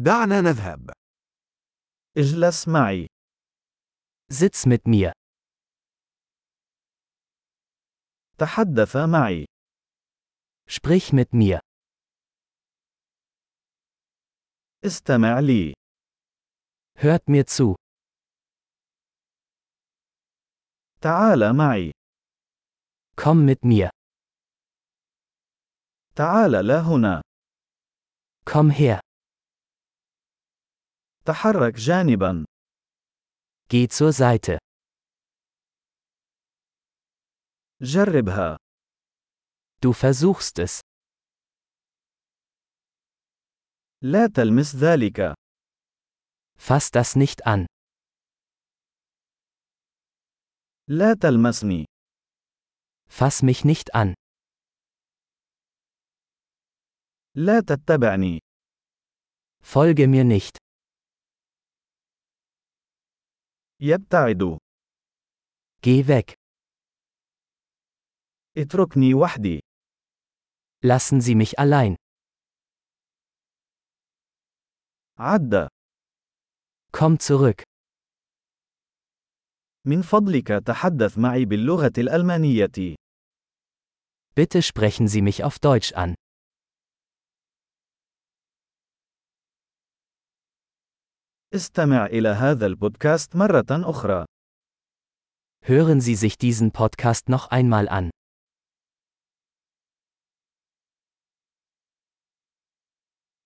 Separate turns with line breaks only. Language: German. دعنا نذهب.
اجلس معي.
Sitz mit mir.
تحدث معي.
Sprich mit mir.
استمع لي.
Hört mir zu.
تعال معي.
Komm mit mir.
تعال لا هنا.
Komm her.
تحرك جانبا.
Geh zur Seite.
جربها.
Du versuchst es.
لا تلمس ذلك.
Fass das nicht an.
لا تلمسني.
Fass mich nicht an.
لا تتبعني.
Folge mir nicht.
يبتعد.
Geh weg.
اتركني وحدي.
Lassen Sie mich allein.
عد.
Komm zurück.
من فضلك تحدث معي باللغة الألمانية.
Bitte sprechen Sie mich auf Deutsch an.
استمع إلى هذا البودكاست مرة أخرى.
Hören Sie sich diesen Podcast noch einmal an.